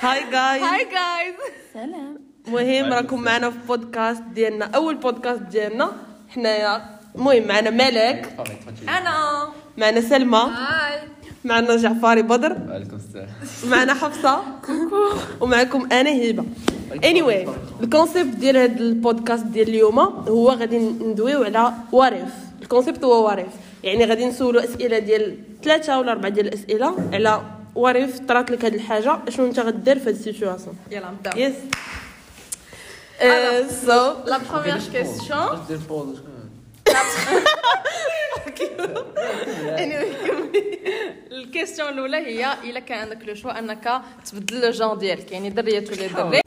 هاي جايز هاي جايز سلام مهم راكم معنا في بودكاست ديالنا اول بودكاست ديالنا حنايا المهم معنا ملك اوكي تفضلي انا معنا سلمى هاي معنا جعفاري بدر وعليكم السلام معنا حفصه ومعكم انا هبه anyway الكونسيبت ديال هذا البودكاست ديال اليوم هو غادي ندويو على وارف الكونسيبت هو وارف يعني غادي نسولو اسئله ديال ثلاثه ولا اربعه ديال الاسئله على وارف طرات لك هذه الحاجه شنو انت غدير في هذه السيتوياسيون يلا نبداو يس آه، سو لا بروميير كيسيون دير فوز الكيسيون الاولى هي الا كان عندك لو شو انك تبدل لو جون ديالك يعني دريه ولا دري